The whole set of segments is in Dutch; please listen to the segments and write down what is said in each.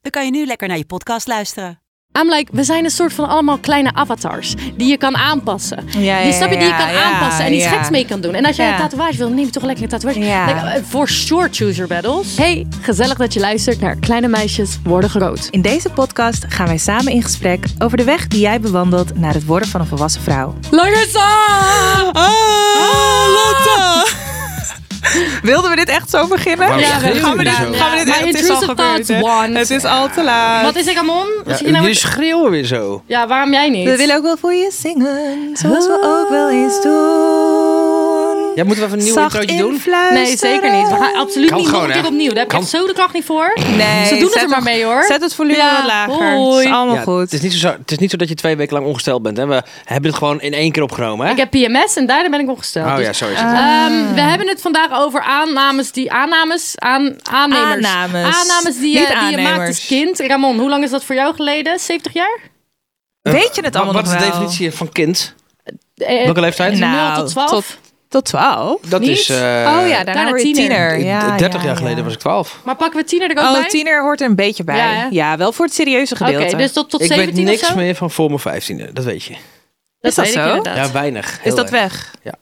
dan kan je nu lekker naar je podcast luisteren. I'm like, we zijn een soort van allemaal kleine avatars die je kan aanpassen. ja, die snap je, die je ja, kan ja, aanpassen en iets ja. geks mee kan doen. En als jij Ja. een tatoeage wil, neem je toch lekker een tatoeage. Ja. Like, eh, Voor short chooser battles. Hey, gezellig dat je luistert naar Kleine Meisjes Worden Groot. In deze podcast gaan wij samen in gesprek over de weg die jij bewandelt naar het worden van een volwassen vrouw. Lange Oh, Ah. Wilden we dit echt zo beginnen? Waarom Ja, beginnen gaan we jullie dit, zo? gaan we dit Ja, echt- my het is al intrusive gebeurd. thoughts hè? want- Het is al te laat. Wat is ik, Amon? Wat zit je nou jullie met- schreeuwen weer zo. Ja, waarom jij niet? we willen ook wel voor je zingen, zoals we Ah. ook wel eens doen. Ja, moeten we even een nieuw Zacht introotje doen? influisteren. Nee, zeker niet. We gaan absoluut Kan niet nog gewoon, een hè? keer opnieuw. Daar heb ik Kan. echt zo de kracht niet voor. Nee, Ze doen het zet er maar mee, hoor. Zet het volume Ja, wat lager. hoi. Het is allemaal Ja, goed. Het is, niet zo, het is niet zo dat je twee weken lang ongesteld bent. Hè? We hebben het gewoon in één keer opgenomen. Hè? Ik heb PMS en daardoor ben ik ongesteld. oh Dus, ja, zo is het. Ah, ehm, we hebben het vandaag over aannames die aannames aan aannemers. Aannames. Aannames die, je- Niet die je aannemers. maakt als kind. Ramon, hoe lang is dat voor jou geleden? 70 jaar? Weet je het Wat, allemaal wat is nog de wel? definitie van kind? Eh, Welke leeftijd? nul Nou, tot 12? tot- Tot 12? dat niet? is. eh, oh ja, daarna daarna word je tiener. tiener. eh, Ja, 30 ja, jaar geleden ja. was ik 12. Maar pakken we tiener er ook Oh, bij? tiener hoort er een beetje bij. Ja, hè? Ja, wel voor het serieuze Oké, gedeelte. dus tot, tot Ik weet 17 of niks zo? meer van voor mijn 15e, dat weet je. Dat Is dat weet ik zo? inderdaad. Ja, weinig. is dat weg? Ja.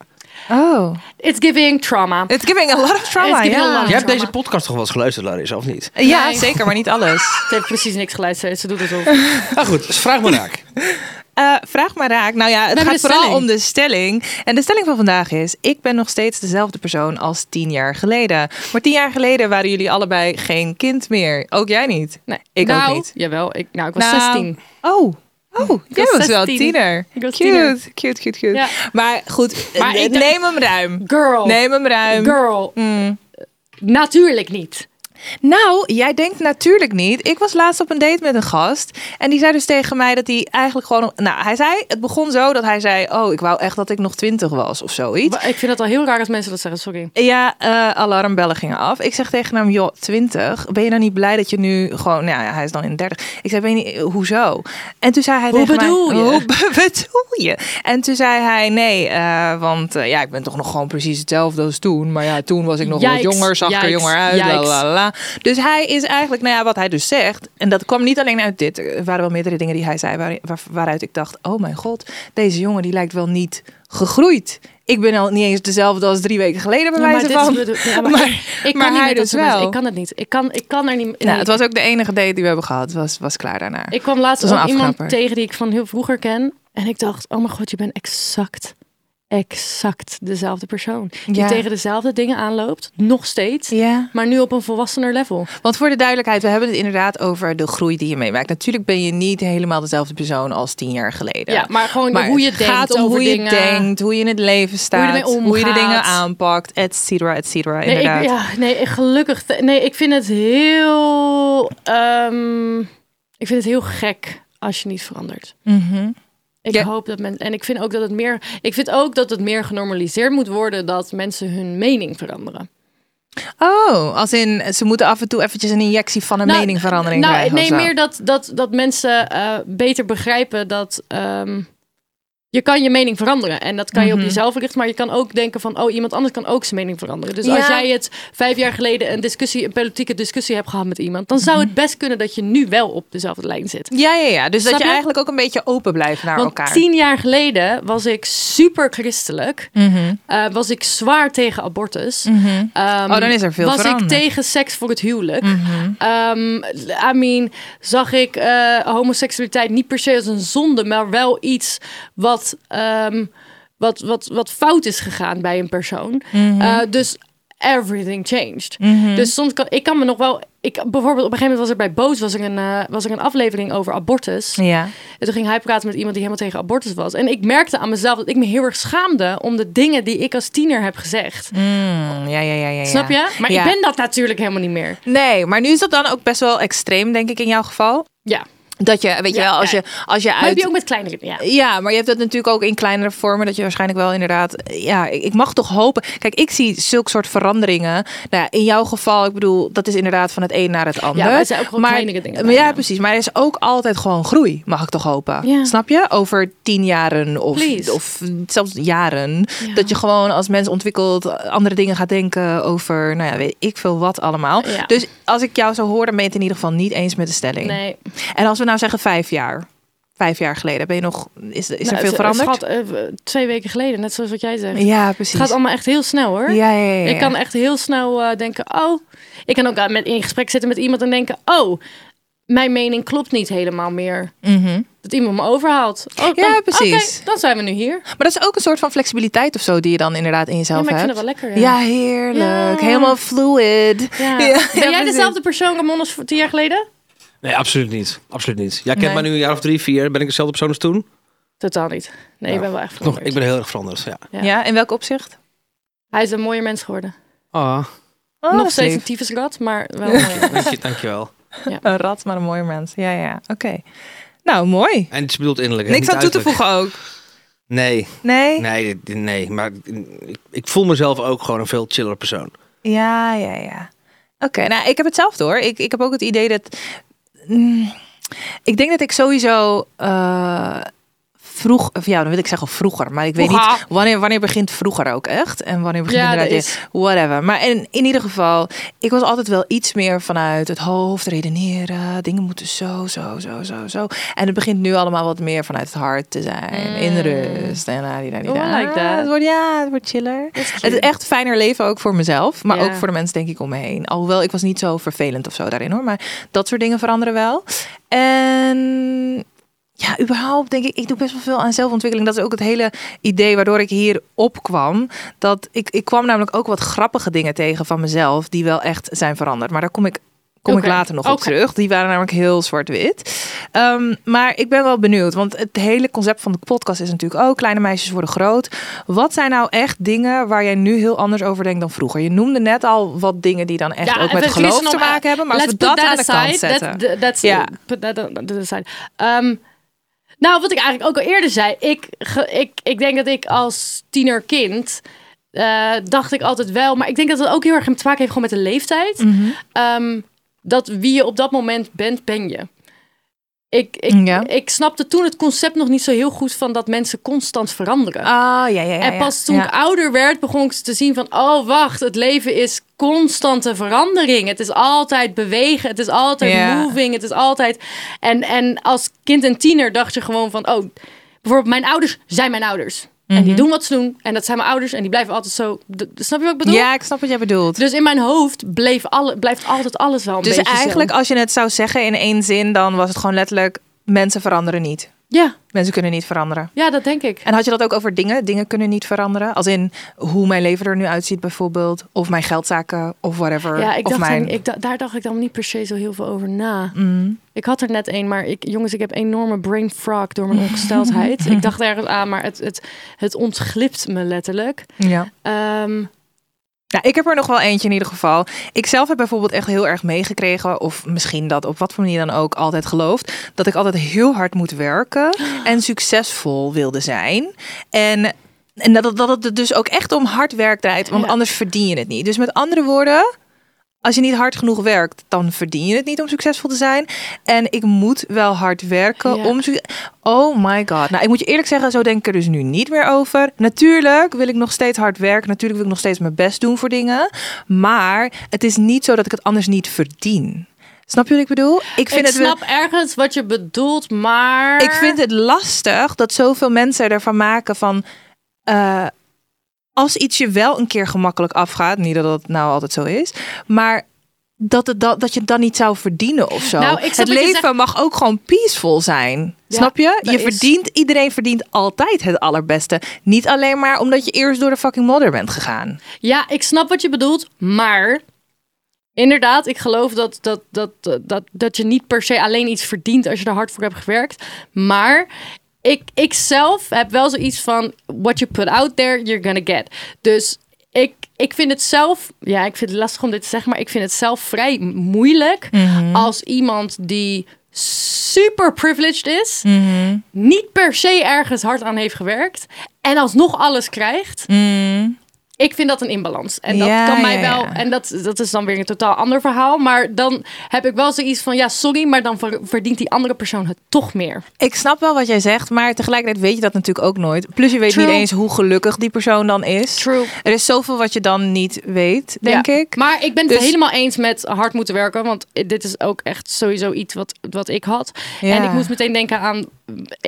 Oh. It's giving trauma. It's giving a lot of trauma. It's giving a Ja, lot of Jij hebt trauma. deze podcast toch wel eens geluisterd, Larissa, of niet? ja Nee. zeker, maar niet alles. Ze heeft precies niks geluisterd. dus Ze doet het op. Nou goed, dus vraag me raak. Eh, vraag maar raak. Nou ja, het hebben gaat de vooral stelling. om de stelling. En de stelling van vandaag is: ik ben nog steeds dezelfde persoon als tien jaar geleden. Maar tien jaar geleden waren jullie allebei geen kind meer. Ook jij niet. Nee. Ik ook nou, niet. Jawel, ik, nou, ik was Nou, 16. Oh. Oh, jij was was wel 16. tiener. Ik was cute. tiener. cute, cute, cute. Ja. Maar goed, Maar eh, ik denk- neem hem ruim. Girl. Neem hem ruim. Girl. mm. Natuurlijk niet. Nou, jij denkt natuurlijk niet. Ik was laatst op een date met een gast. En die zei dus tegen mij dat hij eigenlijk gewoon. Nou, hij zei. Het begon zo dat hij zei. Oh, ik wou echt dat ik nog twintig was of zoiets. Maar Ik vind het al heel raar als mensen dat zeggen. Sorry. Ja, eh, alarmbellen gingen af. Ik zeg tegen hem, joh, 20. Ben je nou niet blij dat je nu gewoon... Nou ja, hij is dan in 30. Ik zei, ben je niet, eh, hoezo? En toen zei hij Hoe tegen mij, bedoel je? Hoe be- bedoel je? En toen zei hij, nee, eh, want eh, ja, ik ben toch nog gewoon precies hetzelfde als toen. Maar ja, toen was ik nog wat Yikes, jonger, zag er yikes, jonger uit. la, yikes. la, la, la. Dus hij is eigenlijk, nou ja, wat hij dus zegt... En dat kwam niet alleen uit dit. Er waren wel meerdere dingen die hij zei waar- waar- waaruit ik dacht... Oh mijn god, deze jongen die lijkt wel niet gegroeid... Ik ben al niet eens dezelfde als drie weken geleden bij Ja, maar wijze dit is van. bedoel- ja, maar ik- ik kan maar niet hij met dat dus soort mensen. wel. Ik kan het niet. Ik kan, ik kan er niet. Nou, het was ook de enige date die we hebben gehad. Was, was klaar daarna. Ik kwam laatst Het was een ook iemand afknapper. tegen die ik van heel vroeger ken. En ik dacht, oh mijn god, je bent exact, exact dezelfde persoon. Die Ja. tegen dezelfde dingen aanloopt, nog steeds. Ja. Maar nu op een volwassener level. Want voor de duidelijkheid, we hebben het inderdaad over de groei die je meemaakt. Natuurlijk ben je niet helemaal dezelfde persoon als tien jaar geleden. Ja, maar gewoon hoe je het denkt gaat om over hoe je dingen. denkt, hoe je in het leven staat, ermee hoe je de dingen omgaat. aanpakt, et cetera, et cetera. Nee, inderdaad. ik, ja, nee, ik- gelukkig. Nee, ik vind het heel. ehm, ik vind het heel gek als je niet verandert. Mhm. Ik Ja. hoop dat mensen. En ik vind ook dat het meer. Ik vind ook dat het meer genormaliseerd moet worden dat mensen hun mening veranderen. Oh, als in ze moeten af en toe eventjes een injectie van een Nou, meningverandering nou, krijgen. Nee, of zo. meer dat, dat, dat mensen eh, beter begrijpen dat ehm, je kan je mening veranderen. En dat kan Mhm. je op jezelf richten. Maar je kan ook denken van, oh, iemand anders kan ook zijn mening veranderen. Dus als Ja. jij het vijf jaar geleden een discussie, een politieke discussie hebt gehad met iemand, dan Mhm. zou het best kunnen dat je nu wel op dezelfde lijn zit. Ja, ja, ja. Dus Snap dat je, je? eigenlijk ook een beetje open blijft naar Want elkaar. tien jaar geleden was ik super christelijk. Mhm. eh, was ik zwaar tegen abortus. Mhm. Ehm, Oh, dan is er veel Was veranderd. ik tegen seks voor het huwelijk? Mhm. Ehm, I mean, zag ik eh, homoseksualiteit niet per se als een zonde, maar wel iets wat, ehm, wat, wat, wat fout is gegaan Mhm. bij een persoon. Eh, dus everything changed. Dus soms kan ik kan me nog wel ik bijvoorbeeld op een gegeven moment was er bij Boos was er een, eh, was er een aflevering over abortus. Ja. En toen ging hij praten met iemand die helemaal tegen abortus was. En ik merkte aan mezelf dat ik me heel erg schaamde om de dingen die ik als tiener heb gezegd. Mm, ja, ja, ja, ja. Snap ja. je? Maar Ja. ik ben dat natuurlijk helemaal niet meer. Nee, maar nu is dat dan ook best wel extreem, denk ik, in jouw geval. Ja. Dat je, weet je Ja, wel, als ja. je, als je Maar heb uit... je ook met kleinere... Ja. Ja, maar je hebt dat natuurlijk ook in kleinere vormen. Dat je waarschijnlijk wel inderdaad. Ja, ik, ik mag toch hopen. Kijk, ik zie zulke soort veranderingen. Nou, ja, in jouw geval, ik bedoel, dat is inderdaad van het een naar het ander. maar het zijn ook gewoon kleinere dingen Maar ja, bijna. precies. Maar er is ook altijd gewoon groei, mag ik toch hopen. Ja. Snap je? Over tien jaren of, Please. of zelfs jaren. Ja. Dat je gewoon als mens ontwikkelt andere dingen gaat denken over, nou ja, weet ik veel wat allemaal. Ja. Dus als ik jou zo hoor, dan ben je het in ieder geval niet eens met de stelling. Nee. En als we nou zeggen vijf jaar. Vijf jaar geleden ben je nog. Is, is er Nou, veel s- veranderd? schat, eh, twee weken geleden, net zoals wat jij zegt. ja, Het precies. gaat allemaal echt heel snel hoor. ja, ja, ja, ja. Ik kan echt heel snel eh, denken, oh... Ik kan ook aan- met, in gesprek zitten met iemand en denken, oh... Mijn mening klopt niet helemaal meer. Mhm. Dat iemand me overhaalt. Oh, dan- Ja, precies. oké, dan zijn we nu hier. Maar dat is ook een soort van flexibiliteit of zo die je dan inderdaad in Ja, jezelf maar ik vind hebt. het wel lekker. ja. heerlijk. Ja. Helemaal fluid. Ja. Ja, ja, ben jij precies. dezelfde persoon, Ramon, als voor tien jaar geleden? Nee, absoluut niet. Absoluut niet. Jij kent Nee. mij nu een jaar of drie, vier. Ben ik dezelfde persoon als toen? Totaal niet. Nee, ik ben wel echt Nou, Nog, veranderd. ik ben heel erg veranderd, ja. Ja. in welk opzicht? Hij is een mooier mens geworden. Ah, Oh, Nog steeds lief. een tyfusgat, maar wel een mooier. dank je, dankjewel. een rat, maar een mooie mens. Ja, ja. Oké. Nou, mooi. En het is bedoeld innerlijk. hè, Niks niet aan toe te uiterlijk. voegen ook. Nee, Nee? nee, dit- nee. Maar ik, ik voel mezelf ook gewoon een veel chiller persoon. Ja, ja, ja. Oké, nou, ik heb hetzelfde hoor. Ik, ik heb ook het idee dat. Mm, ik denk dat ik sowieso. eh, Vroeg, of ja, dan wil ik zeggen vroeger, maar ik weet niet Vroeger. wanneer, wanneer begint vroeger ook echt en wanneer begint Ja, inderdaad dat je- is- whatever. Maar in, in ieder geval, ik was altijd wel iets meer vanuit het hoofd redeneren, dingen moeten zo, zo, zo, zo, zo. En het begint nu allemaal wat meer vanuit het hart te zijn, in rust en la, die, la, die, Mm. Oh, I la. like that. Het wordt ja, het wordt chiller. Het is echt fijner leven ook voor mezelf, maar Ja. ook voor de mensen denk ik om me heen. Alhoewel ik was niet zo vervelend of zo daarin hoor, maar dat soort dingen veranderen wel. En ja, überhaupt denk ik, ik doe best wel veel aan zelfontwikkeling. Dat is ook het hele idee waardoor ik hier opkwam. Dat ik, ik kwam namelijk ook wat grappige dingen tegen van mezelf die wel echt zijn veranderd. Maar daar kom ik, kom Oké. ik later nog op Oké. terug. Die waren namelijk heel zwart-wit. Ehm, maar ik ben wel benieuwd, want het hele concept van de podcast is natuurlijk ook kleine meisjes worden groot. Wat zijn nou echt dingen waar jij nu heel anders over denkt dan vroeger? Je noemde net al wat dingen die dan echt ook en met we geloof kiezen te om, eh, maken hebben. Maar als we let's dat put aan de that kant aside, that- zetten. that- that's- Ja. put that on the side. Ehm, nou, wat ik eigenlijk ook al eerder zei. Ik, ge- ik, ik denk dat ik als tienerkind... eh, dacht ik altijd wel, maar ik denk dat het ook heel erg te maken heeft gewoon met de leeftijd. Mhm. Ehm, dat wie je op dat moment bent, ben je. Ik, ik, Ja. ik snapte toen het concept nog niet zo heel goed van dat mensen constant veranderen. Ah, ja, ja, ja. En ja. pas toen Ja. ik ouder werd, begon ik te zien van... oh, wacht, het leven is constante verandering. Het is altijd bewegen, het is altijd Ja. moving, het is altijd... En, en als kind en tiener dacht je gewoon van... oh, bijvoorbeeld mijn ouders zijn mijn ouders. En Mhm. die doen wat ze doen en dat zijn mijn ouders... en die blijven altijd zo... D- snap je wat ik bedoel? Ja, ik snap wat jij bedoelt. Dus, Dus in mijn hoofd bleef alle, blijft altijd alles wel een beetje zo. eigenlijk, als je het zou zeggen in één zin, dan was het gewoon letterlijk: mensen veranderen niet. Ja, Mensen kunnen niet veranderen. ja, dat denk ik. En had je dat ook over dingen? Dingen kunnen niet veranderen. Als in hoe mijn leven er nu uitziet, bijvoorbeeld. Of mijn geldzaken, of whatever. Ja, ik of dacht mijn... Mm. dan- ik, da- daar dacht ik dan niet per se zo heel veel over na. Ik had er net een, maar ik, jongens, ik heb enorme brain frog door mijn ongesteldheid. ik dacht ergens aan, maar het, het, het ontglipt me letterlijk. ja. Ehm, Ja, ik heb er nog wel eentje in ieder geval. Ik zelf heb bijvoorbeeld echt heel erg meegekregen, of misschien dat op wat voor manier dan ook altijd geloofd, dat ik altijd heel hard moet werken en succesvol wilde zijn. En, en dat, het- dat het er dus ook echt om hard werk draait, want Ja. anders verdien je het niet. Dus met andere woorden, als je niet hard genoeg werkt, dan verdien je het niet om succesvol te zijn. En ik moet wel hard werken Ja. om succes. Oh my god. Nou, ik moet je eerlijk zeggen, zo denk ik er dus nu niet meer over. Natuurlijk wil ik nog steeds hard werken. Natuurlijk wil ik nog steeds mijn best doen voor dingen. Maar het is niet zo dat ik het anders niet verdien. Snap je wat ik bedoel? Ik ik vind het wel- snap ergens wat je bedoelt, maar... ik vind het lastig dat zoveel mensen ervan maken van. eh, als iets je wel een keer gemakkelijk afgaat, niet dat dat nou altijd zo is, maar dat, het, dat, dat je het dan niet zou verdienen of zo. Nou, ik snap het wat je leven zegt. mag ook gewoon peaceful zijn. Ja, snap je? dat Je is- verdient, iedereen verdient altijd het allerbeste. Niet alleen maar omdat je eerst door de fucking modder bent gegaan. Ja, ik snap wat je bedoelt, maar... Inderdaad, ik geloof dat, dat, dat, dat, dat je niet per se alleen iets verdient als je er hard voor hebt gewerkt. Maar ik, ik zelf heb wel zoiets van: what you put out there, you're gonna get. Dus ik, ik vind het zelf, ja, ik vind het lastig om dit te zeggen, maar ik vind het zelf vrij moeilijk als iemand die super privileged is, niet per se ergens hard aan heeft gewerkt en alsnog alles krijgt. Ik vind dat een inbalans. En dat Mm. Ja, kan mij ja, wel. ja. En dat, dat is dan weer een totaal ander verhaal. Maar dan heb ik wel zoiets van: ja, sorry, maar dan ver- verdient die andere persoon het toch meer. Ik snap wel wat jij zegt, maar tegelijkertijd weet je dat natuurlijk ook nooit. Plus je weet True. niet eens hoe gelukkig die persoon dan is. True. Er is zoveel wat je dan niet weet, denk Ja. ik. Maar ik ben het Dus- helemaal eens met hard moeten werken. Want dit is ook echt sowieso iets wat, wat ik had. Ja. En ik moest meteen denken aan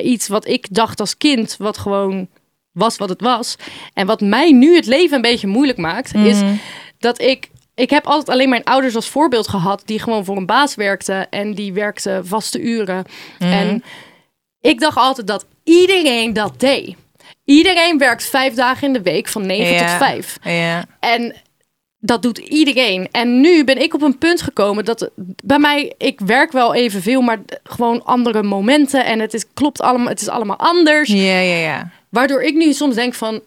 iets wat ik dacht als kind. Wat gewoon was wat het was. En wat mij nu het leven een beetje moeilijk maakt. Is Mhm. dat ik... Ik heb altijd alleen mijn ouders als voorbeeld gehad. Die gewoon voor een baas werkten. En die werkten vaste uren. Mhm. En ik dacht altijd dat iedereen dat deed. Iedereen werkt vijf dagen in de week van negen Ja. tot vijf. Ja. En dat doet iedereen. En nu ben ik op een punt gekomen dat bij mij, ik werk wel evenveel, maar gewoon andere momenten. En het is, klopt allemaal, het is allemaal anders. ja, ja, ja. Waardoor ik nu soms denk van,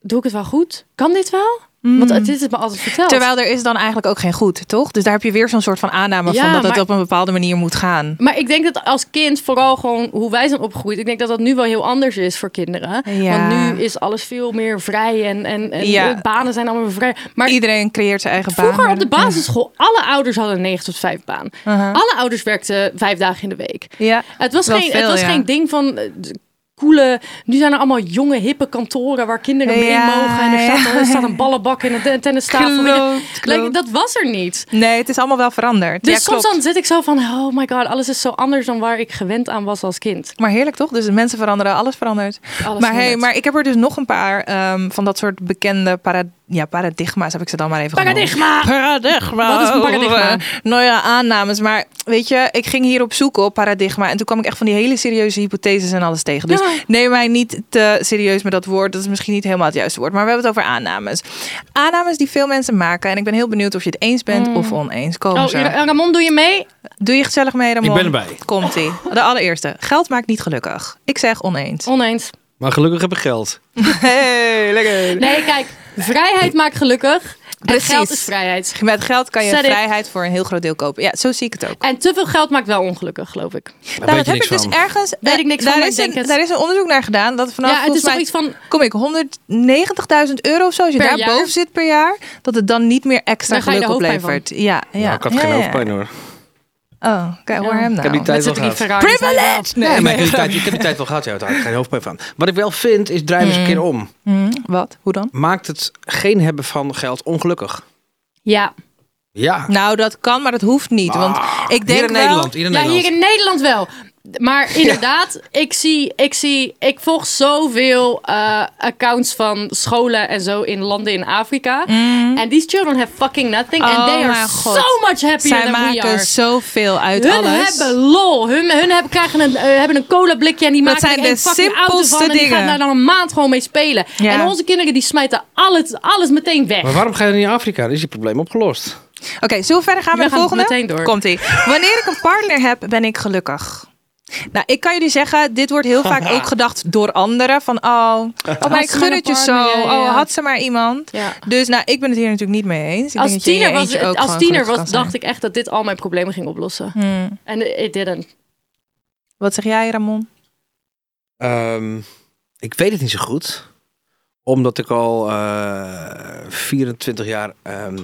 doe ik het wel goed? Kan dit wel? Want het is het me altijd verteld. Mm. Terwijl er is dan eigenlijk ook geen goed, toch? Dus daar heb je weer zo'n soort van aanname Ja, van dat het maar- op een bepaalde manier moet gaan. Maar ik denk dat als kind, vooral gewoon hoe wij zijn opgegroeid, ik denk dat dat nu wel heel anders is voor kinderen. Ja. Want nu is alles veel meer vrij en, en, en Ja. de banen zijn allemaal vrij. Maar Iedereen creëert zijn eigen baan. Vroeger op de basisschool, alle ouders hadden een 9 tot 5 baan. Alle ouders werkten vijf dagen in de week. Ja, Het was, wel geen, het veel, was ja. geen ding van eh, d- coole. Nu zijn er allemaal jonge, hippe kantoren waar kinderen mee Ja, mogen. En er staat, ja. er staat een ballenbak en een ten- tennistafel. Weet je, Klopt, like, klopt. Dat was er niet. Nee, het is allemaal wel veranderd. Dus ja, soms klopt. dan zit ik zo van: oh my god, alles is zo anders dan waar ik gewend aan was als kind. Maar heerlijk toch? Dus de mensen veranderen, alles verandert. Alles maar, hey, verandert. maar ik heb er dus nog een paar ehm, van dat soort bekende para ja, paradigma's, heb ik ze dan maar even Paradigma! genoemd. Paradigma! Wat is een paradigma? Eh, nou ja, aannames. Maar weet je, ik ging hierop zoeken op paradigma. En toen kwam ik echt van die hele serieuze hypotheses en alles tegen. Dus Ja. neem mij niet te serieus met dat woord. Dat is misschien niet helemaal het juiste woord. Maar we hebben het over aannames. Aannames die veel mensen maken. En ik ben heel benieuwd of je het eens bent of oneens. Kom Mm. Oh, zo. Ra- Ramon, doe je mee? Doe je gezellig mee, Ramon. Ik ben erbij. Komt-ie. De allereerste. Geld maakt niet gelukkig. Ik zeg oneens. Oneens. Maar gelukkig heb ik geld. Hey, lekker. Nee, kijk, vrijheid maakt gelukkig. En Precies. geld is vrijheid. Met geld kan je Said it. vrijheid voor een heel groot deel kopen. Ja, zo zie ik het ook. En te veel geld maakt wel ongelukkig, geloof ik. Nou, dat je heb ik niks dus van. ergens. Weet eh, ik niks daar van, maar is ik denk een, het. Daar is een onderzoek naar gedaan. Dat vanaf Ja, het Nou, volgens is toch mij- iets van- Kom ik 190.000 euro of zo. Als je Per daar jaar? boven zit per jaar. Dat het dan niet meer extra Dan ga je geluk er hoofdpijn oplevert. Ja, ja. Nou, ik had ja, geen ja. hoofdpijn hoor. Oh, kijk, hoor hem nou. heb die tijd Met z'n wel drie gehad. Ferraris. Privilege! Nee, Nee, maar ik heb die tijd- ik heb die tijd wel gehad. Ja, daar had ik geen hoofdpijn van. Wat ik wel vind, is drijf eens Mm. een keer om. Wat? Hoe dan? Maakt het geen hebben van geld ongelukkig? Ja. Ja. Nou, dat kan, maar dat hoeft niet. Want ik denk Ah, hier in wel- Nederland. Hier in Ja, Nederland. hier in Nederland wel. Maar inderdaad, ik zie, ik zie, ik volg zoveel eh, accounts van scholen en zo in landen in Afrika. En these children have fucking nothing. and Mhm. Oh they are mijn God. so much happier Zij than we maken are. zoveel uit Hun alles. hebben lol. Hun, hun hebben, krijgen een, eh, hebben een cola-blikje en die Dat maken zijn er de één fucking auto simpelste van. En die dingen. gaan daar dan een maand gewoon mee spelen. Ja. En onze kinderen die smijten alles, alles meteen weg. Maar waarom ga je dan niet naar Afrika? Dan is je probleem opgelost. Oké, zullen we verder gaan We met de gaan volgende? meteen door. Komt ie. Wanneer ik een partner heb, ben ik gelukkig. Nou, ik kan jullie zeggen, dit wordt heel vaak ook gedacht door anderen. Van, oh, oh maar ik Oh, ze gun maar het je een zo. partner, ja, ja, ja. Oh, had ze maar iemand. Ja. Dus nou, ik ben het hier natuurlijk niet mee eens. Ik als denk dat je in tiener, je was, eentje ook als gewoon tiener gelukkig was, kan dacht ik echt dat dit al mijn problemen ging oplossen. zijn. Hmm. En it didn't. Wat zeg jij, Ramon? Ehm, ik weet het niet zo goed. Omdat ik al eh, 24 jaar ehm,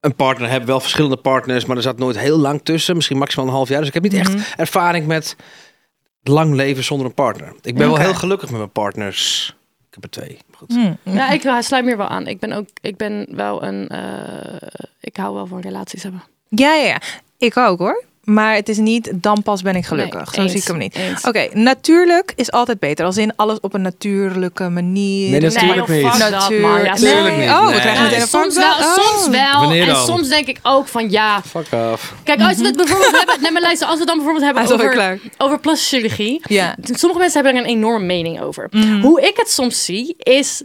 een partner heb. Wel verschillende partners, maar er zat nooit heel lang tussen. Misschien maximaal een half jaar. Dus ik heb niet echt Mhm. ervaring met lang leven zonder een partner. Ik ben wel Oké. heel gelukkig met mijn partners. Ik heb er twee. maar Goed. Hmm. Ja, ik eh, sluit me hier wel aan. Ik ben ook, ik ben wel een, eh, ik hou wel van relaties hebben. Ja, ja, ja. Ik ook hoor. Maar het is niet, dan pas ben ik gelukkig. Nee, zo eens, zie ik hem niet. eens. Oké, natuurlijk is altijd beter. Als in alles op een natuurlijke manier. Nee, dat is Natuurlijk joh, fuck niet. dat, maar ja, Nee. Tuurlijk niet. Oh, we Nee. krijgen Ja, meteen een soms wel, fuckbel. Oh. soms wel. Wanneer en dan? soms denk ik ook van ja. Fuck af. Kijk, als we het bijvoorbeeld hebben, nee, maar luister, als we het dan bijvoorbeeld Hij is hebben alweer over, over plastische chirurgie. Ja. Hmm. Sommige mensen hebben er een enorme mening over. Hoe ik het soms zie, is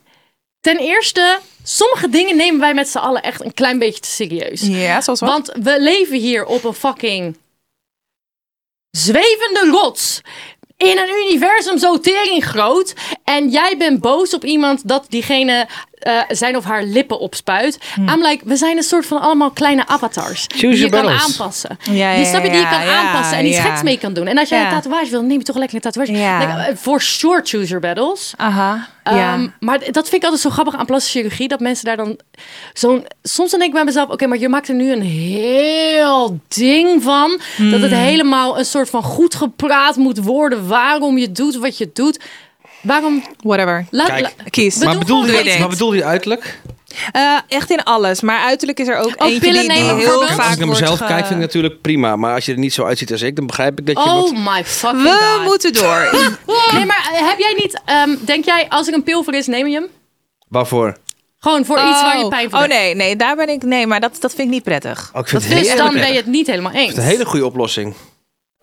ten eerste sommige dingen nemen wij met z'n allen echt een klein beetje te serieus. Ja, zoals wat? Want we leven hier op een fucking zwevende rots. In een universum zo tering groot. En jij bent boos op iemand dat diegene eh, zijn of haar lippen opspuit. Hmm. I'm like, we zijn een soort van allemaal kleine avatars. die your je kan battles. aanpassen. Ja, die ja, snap je, die je ja, kan ja, aanpassen en iets ja. geks mee kan doen. En als jij Ja. een tatoeage wil, neem je toch lekker een tatoeage. Ja. Like, eh, Voor sure choose your battles. Aha, Ehm, maar d- dat vind ik altijd zo grappig aan plastische chirurgie. Dat mensen daar dan zo'n... Soms dan denk ik bij mezelf... Oké, maar je maakt er nu een heel ding van. Dat het Hmm. helemaal een soort van goed gepraat moet worden. Waarom je doet wat je doet. Waarom... whatever. Laat, Kijk, la- Kies. Bedoel Maar bedoelde, gewoon je, iets. maar bedoelde je uiterlijk? Eh, echt in alles. Maar uiterlijk is er ook Oh, eentje die, pillen die nemen heel bijvoorbeeld? vaak Als ik naar wordt mezelf ge- kijk, vind ik natuurlijk prima. Maar als je er niet zo uitziet als ik, dan begrijp ik dat je wat... Oh my fucking We god. moeten door. Nee, maar eh, heb jij niet... ehm, denk jij, als er een pil voor is, neem je hem? Waarvoor? Gewoon voor iets waar je pijn van Oh hebt. nee, nee, daar ben ik. Nee, maar dat, dat vind ik niet prettig. Oh, ik vind het Dus heel dan prettig. ben je het niet helemaal eens. Het is een hele goede oplossing.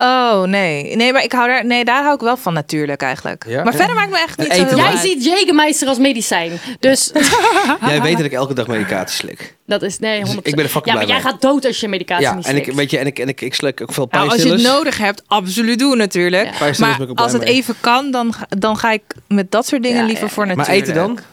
Oh nee. Nee, maar ik hou daar. Nee, daar hou ik wel van natuurlijk eigenlijk. Ja? maar Ja. verder maakt me echt niet zo eten heel maar. Jij uit. ziet Jägermeister als medicijn. Dus Jij weet dat ik elke dag medicatie slik. dat is... Nee, 100%. Dus ik ben er fucking Ja, maar blij jij mee. gaat dood als je medicatie Ja, niet en ik, slikt. weet je, en ik, en ik, ik slik ook veel Nou, als je het pijnstillers. nodig hebt, absoluut doen natuurlijk. Pijnstillers ben Maar ik ook blij als het mee. even kan, dan, ga- dan ga ik met dat soort dingen Ja, liever ja. voor Maar natuurlijk. Ehm, Eh, eten dan?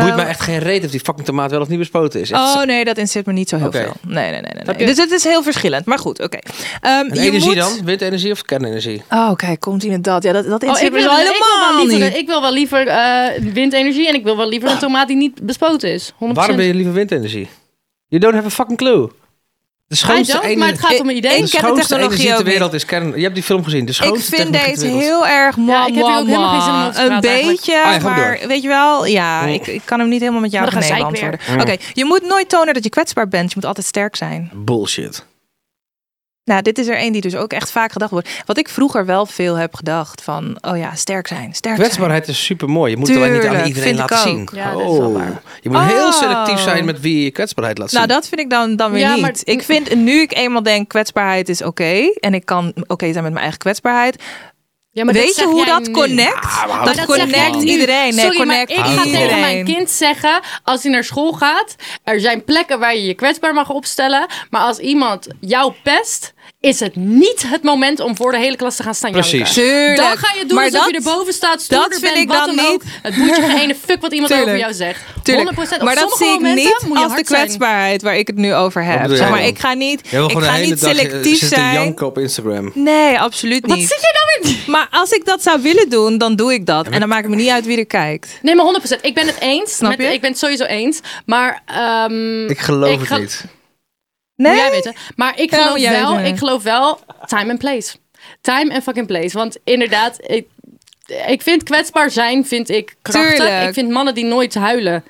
Boeit mij echt geen reet of die fucking tomaat wel of niet bespoten is. Echt Oh nee, dat interesseert me niet zo heel Oké. veel. Nee, nee, nee, nee. nee. je? Dus het is heel verschillend. Maar goed, oké. Ehm, En je energie moet- dan? Windenergie of kernenergie? Oh, kijk, komt ie met dat. Ja, dat, dat Oh, ik, interesseert wil, me zo ik wil wel helemaal liever, niet. ik wil wel liever eh, windenergie en ik wil wel liever een tomaat die niet bespoten is. 100%. Ah. Waarom ben je liever windenergie? You don't have a fucking clue. De schoonste don't, ener- maar het gaat om een idee. Ik de ken de schoonste technologie energie ter ook wereld is kern. Je hebt die film gezien. De Ik schoonste vind technologie deze ter wereld. heel erg moi, Ja, ik heb hier moi, ook helemaal geen zin om moi. over te Een praten eigenlijk. beetje, Ah, ja, gewoon maar door. weet je wel, ja, Mm. ik, ik kan hem niet helemaal met jou Maar dan nee ga ik beantwoorden. Oké, je moet nooit tonen dat je kwetsbaar bent. Je moet altijd sterk zijn. Bullshit. Nou, dit is er één die dus ook echt vaak gedacht wordt. Wat ik vroeger wel veel heb gedacht van, oh ja, sterk zijn, sterk zijn. Kwetsbaarheid is super mooi. Je moet het alleen niet aan Tuurlijk, iedereen vind ik laten zien. ook. Ja, dat is wel waar. Je moet heel Oh. selectief zijn met wie je je kwetsbaarheid laat zien. Nou, dat vind ik dan, dan weer Ja, niet. maar- Ik vind, nu ik eenmaal denk, kwetsbaarheid is oké. en ik kan oké zijn met mijn eigen kwetsbaarheid. Ja, maar Weet dat je zeg hoe jij dat nu. connect? Ah, maar dat dat zeg jij connect nu. iedereen. Nee, Sorry, connect maar ik ga iedereen. tegen mijn kind zeggen, als hij naar school gaat, er zijn plekken waar je je kwetsbaar mag opstellen, maar als iemand jou pest, is het niet het moment om voor de hele klas te gaan staan Precies. janken. Tuurlijk. Dan ga je doen maar alsof dat, je erboven staat, stoerder dat vind bent, ik wat dan dan ook. niet. Het moet je geen ene fuck wat iemand Tuurlijk. over jou zegt. 100%. Tuurlijk. Op Maar dat sommige zie ik momenten niet moet je als de hard zijn. kwetsbaarheid waar ik het nu over Wat heb. bedoel Zeg jij maar dan? ik ga niet, Jij wil ik gewoon ga de hele niet dag, eh, selectief zitten zijn. janken op Instagram. Nee, absoluut Wat niet. zit je nou weer? Maar als ik dat zou willen doen, dan doe ik dat. En dan maakt het me niet uit wie er kijkt. Nee, maar 100%. Ik ben het eens. Snap met, je? Ik ben het sowieso eens. Maar ehm Ik geloof Ik het ga- niet. Nee? Moet jij weten. Maar ik Ja, geloof, moet jij wel, weten. ik geloof wel time and place. Time and fucking place. Want inderdaad, ik, ik vind kwetsbaar zijn, vind ik krachtig. Tuurlijk. Ik vind mannen die nooit huilen,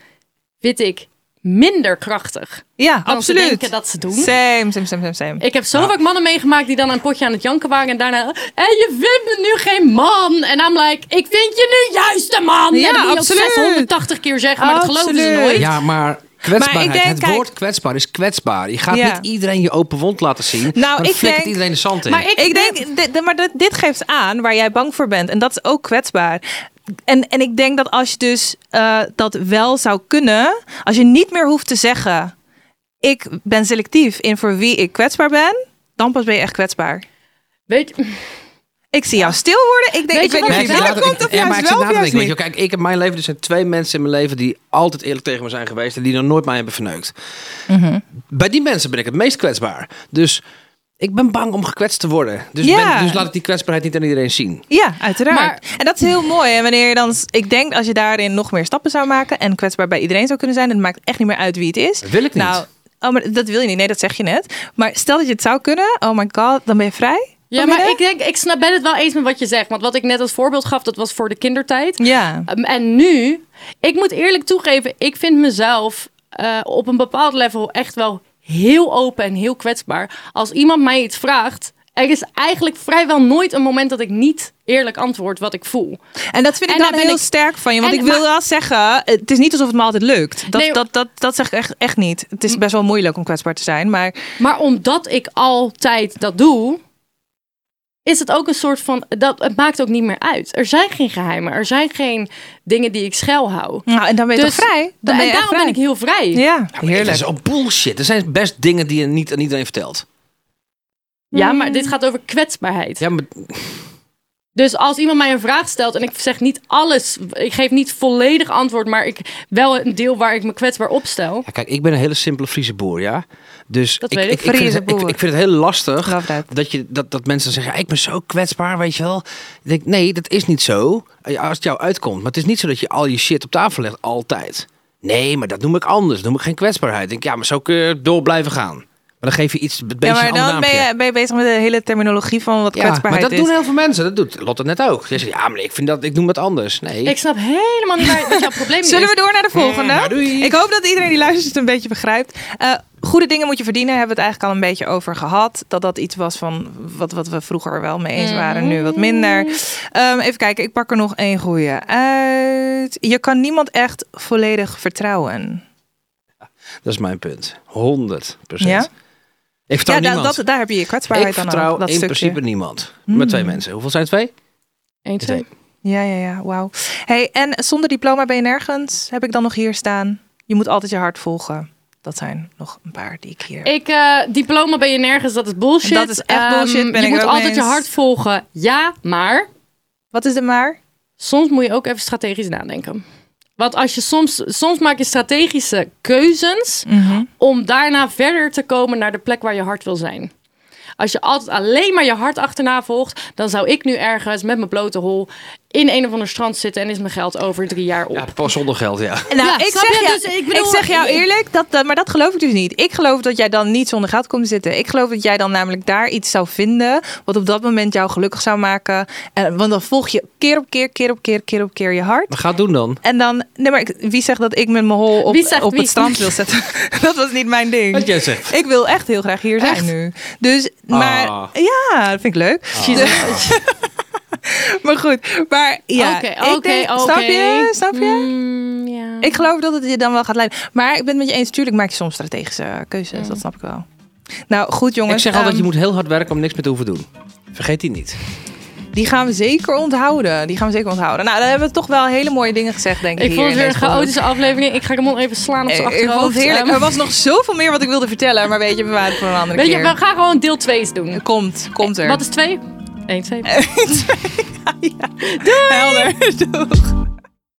vind ik minder krachtig. Ja, Dan absoluut. ze denken dat ze doen. Same, same, same, same, same. Ik heb zo vaak mannen meegemaakt die dan een potje aan het janken waren. En daarna, en je vindt me nu geen man. En I'm like, ik vind je nu juist de man. Ja, en dat moet je ook absoluut. 680 keer zeggen, maar dat geloven ze Absoluut. nooit. Ja, maar kwetsbaarheid. Maar ik denk, het kijk- woord kwetsbaar is kwetsbaar. Je gaat Ja. Nou, niet iedereen je open wond laten zien. maar dan ik flikkert denk- iedereen de zand in. Maar ik, Ik denk, dit, dit- maar dit, dit geeft aan waar jij bang voor bent. En dat is ook kwetsbaar. En, en ik denk dat als je dus eh, dat wel zou kunnen, als je niet meer hoeft te zeggen, ik ben selectief in voor wie ik kwetsbaar ben, dan pas ben je echt kwetsbaar. weet, Ik zie jou stil worden. Ik denk, Weet ik je weet wat niet of Nee, je ik zit na daar te- komt ik- of ja, maar juist ik zit wel na of te juist denken. Weet je, niet. kijk, ik in mijn leven, er zijn twee mensen in mijn leven die altijd eerlijk tegen me zijn geweest en die dan nooit mij hebben verneukt. Mhm. Bij die mensen ben ik het meest kwetsbaar. Dus ik ben bang om gekwetst te worden. Dus, ik Ja. ben, dus laat ik die kwetsbaarheid niet aan iedereen zien. Ja, uiteraard. Maar- en dat is heel mooi. En wanneer je dan, ik denk als je daarin nog meer stappen zou maken en kwetsbaar bij iedereen zou kunnen zijn, het maakt echt niet meer uit wie het is. Dat wil ik niet. Nou, oh, maar dat wil je niet. Nee, dat zeg je net. Maar stel dat je het zou kunnen, oh my god, dan ben je vrij. Ja, Van maar ik binnen? denk, ik snap, ben het wel eens met wat je zegt. Want wat ik net als voorbeeld gaf, dat was voor de kindertijd. Ja. Um, en nu, ik moet eerlijk toegeven, ik vind mezelf eh, op een bepaald level echt wel heel open en heel kwetsbaar. Als iemand mij iets vraagt, er is eigenlijk vrijwel nooit een moment dat ik niet eerlijk antwoord wat ik voel. En dat vind En ik dan daar ben heel ik- sterk van je. Want en- ik wil maar- wel zeggen, het is niet alsof het me altijd lukt. Dat, Nee, dat, dat, dat zeg ik echt, echt niet. Het is best wel moeilijk om kwetsbaar te zijn. Maar Maar omdat ik altijd dat doe, is het ook een soort van. Dat, het maakt ook niet meer uit. Er zijn geen geheimen. Er zijn geen dingen die ik schuil hou. Nou, en dan ben je Dus- toch vrij? Dan en ben je echt daarom ben ik heel vrij. vrij. Ja, Heerlijk. Dat heerlijk. is al bullshit. Er zijn best dingen die je niet aan iedereen vertelt. Ja, maar dit gaat over kwetsbaarheid. Ja, maar Dus als iemand mij een vraag stelt en ik zeg niet alles, ik geef niet volledig antwoord, maar ik wel een deel waar ik me kwetsbaar opstel. Ja, kijk, ik ben een hele simpele Friese boer, ja. Dus Dat weet ik. Ik, vind Friese het, ik, boer. ik vind het heel lastig Love that. dat, je, dat, dat mensen zeggen, "Ja, ik ben zo kwetsbaar, weet je wel. Ik denk, nee, dat is niet zo. Ja, Als het jou uitkomt. Maar het is niet zo dat je al je shit op tafel legt, altijd. Nee, maar dat noem ik anders. Dat noem ik geen kwetsbaarheid. Ik denk, ja, maar zo kun je door blijven gaan. Maar dan geef je iets, een beetje Ja, een maar ander dan ben naampje. je, ben je bezig met de hele terminologie van wat Ja, maar kwetsbaarheid dat is. doen heel veel mensen. Dat doet Lotte net ook. Ze zegt, ja, maar ik, vind dat, ik noem dat anders. Nee. Ik snap helemaal niet waar, wat jouw probleem nu Zullen is. we door naar de volgende? Ja, doei. Ik hoop dat iedereen die luistert het een beetje begrijpt. Eh, goede dingen moet je verdienen, hebben we het eigenlijk al een beetje over gehad. Dat dat iets was van wat, wat we vroeger wel mee eens waren, nu wat minder. Ehm, even kijken, ik pak er nog één goede uit. Je kan niemand echt volledig vertrouwen. Dat is mijn punt. 100 Ja? Ik vertrouw ja, da- niemand. dat, daar heb je je kwetsbaarheid ik aan. vertrouw ook, dat in stukje. Hmm. principe niemand. Met twee mensen. Hoeveel zijn het twee? Eén, twee. Ja, ja, ja, wauw. Hey, en zonder diploma ben je nergens, heb ik dan nog hier staan. Je moet altijd je hart volgen. Dat zijn nog een paar die ik hier... Ik, eh, diploma ben je nergens, dat is bullshit. Dat is echt bullshit, Ehm, ben je ik moet ook mee altijd je eens. hart volgen. Ja, maar Wat is de maar? soms moet je ook even strategisch nadenken. Want als je soms, soms maak je strategische keuzes Mhm. om daarna verder te komen naar de plek waar je hart wil zijn. Als je altijd alleen maar je hart achterna volgt, dan zou ik nu ergens met mijn blote hol in een of ander strand zitten en is mijn geld over drie jaar op. Ja, pas zonder geld, ja. Nou, Ja, ik, snap zeg je? jou, Dus ik ik, bedoel- zeg jou eerlijk, dat, dat, maar dat geloof ik dus niet. Ik geloof dat jij dan niet zonder geld komt zitten. Ik geloof dat jij dan namelijk daar iets zou vinden... wat op dat moment jou gelukkig zou maken. En, want dan volg je keer op keer, keer op keer, keer op keer je hart. Maar ga het doen dan. En dan, nee maar ik- wie zegt dat ik met mijn hol op, Wie zegt op wie? het strand wil zetten? dat was niet mijn ding. Wat jij zegt. Ik wil echt heel graag hier zijn nu. Dus, maar Ah. ja, dat vind ik leuk. maar goed, maar ja. Oké, ik oké, denk- oké. Snap je? Snap je? Mm, ja. Ik geloof dat het je dan wel gaat leiden. Maar ik ben het met je eens. Tuurlijk maak je soms strategische keuzes. Mm. Dat snap ik wel. Nou, goed jongens. Ik zeg altijd, je ehm, moet heel hard werken om niks meer te hoeven doen. Vergeet die niet. Die gaan we zeker onthouden. Die gaan we zeker onthouden. Nou, dan hebben we toch wel hele mooie dingen gezegd, denk ik. Ik vond het weer een chaotisch. chaotische aflevering. Ik ga de mond even slaan op zijn Ik achterhoofd. vond het heerlijk. Ehm, Er was nog zoveel meer wat ik wilde vertellen. Maar weet je, we waren het voor een andere weet je, keer. we gaan gewoon deel 2 doen. Komt, komt er. Wat is 2? 1, 2. Helder. Doeg.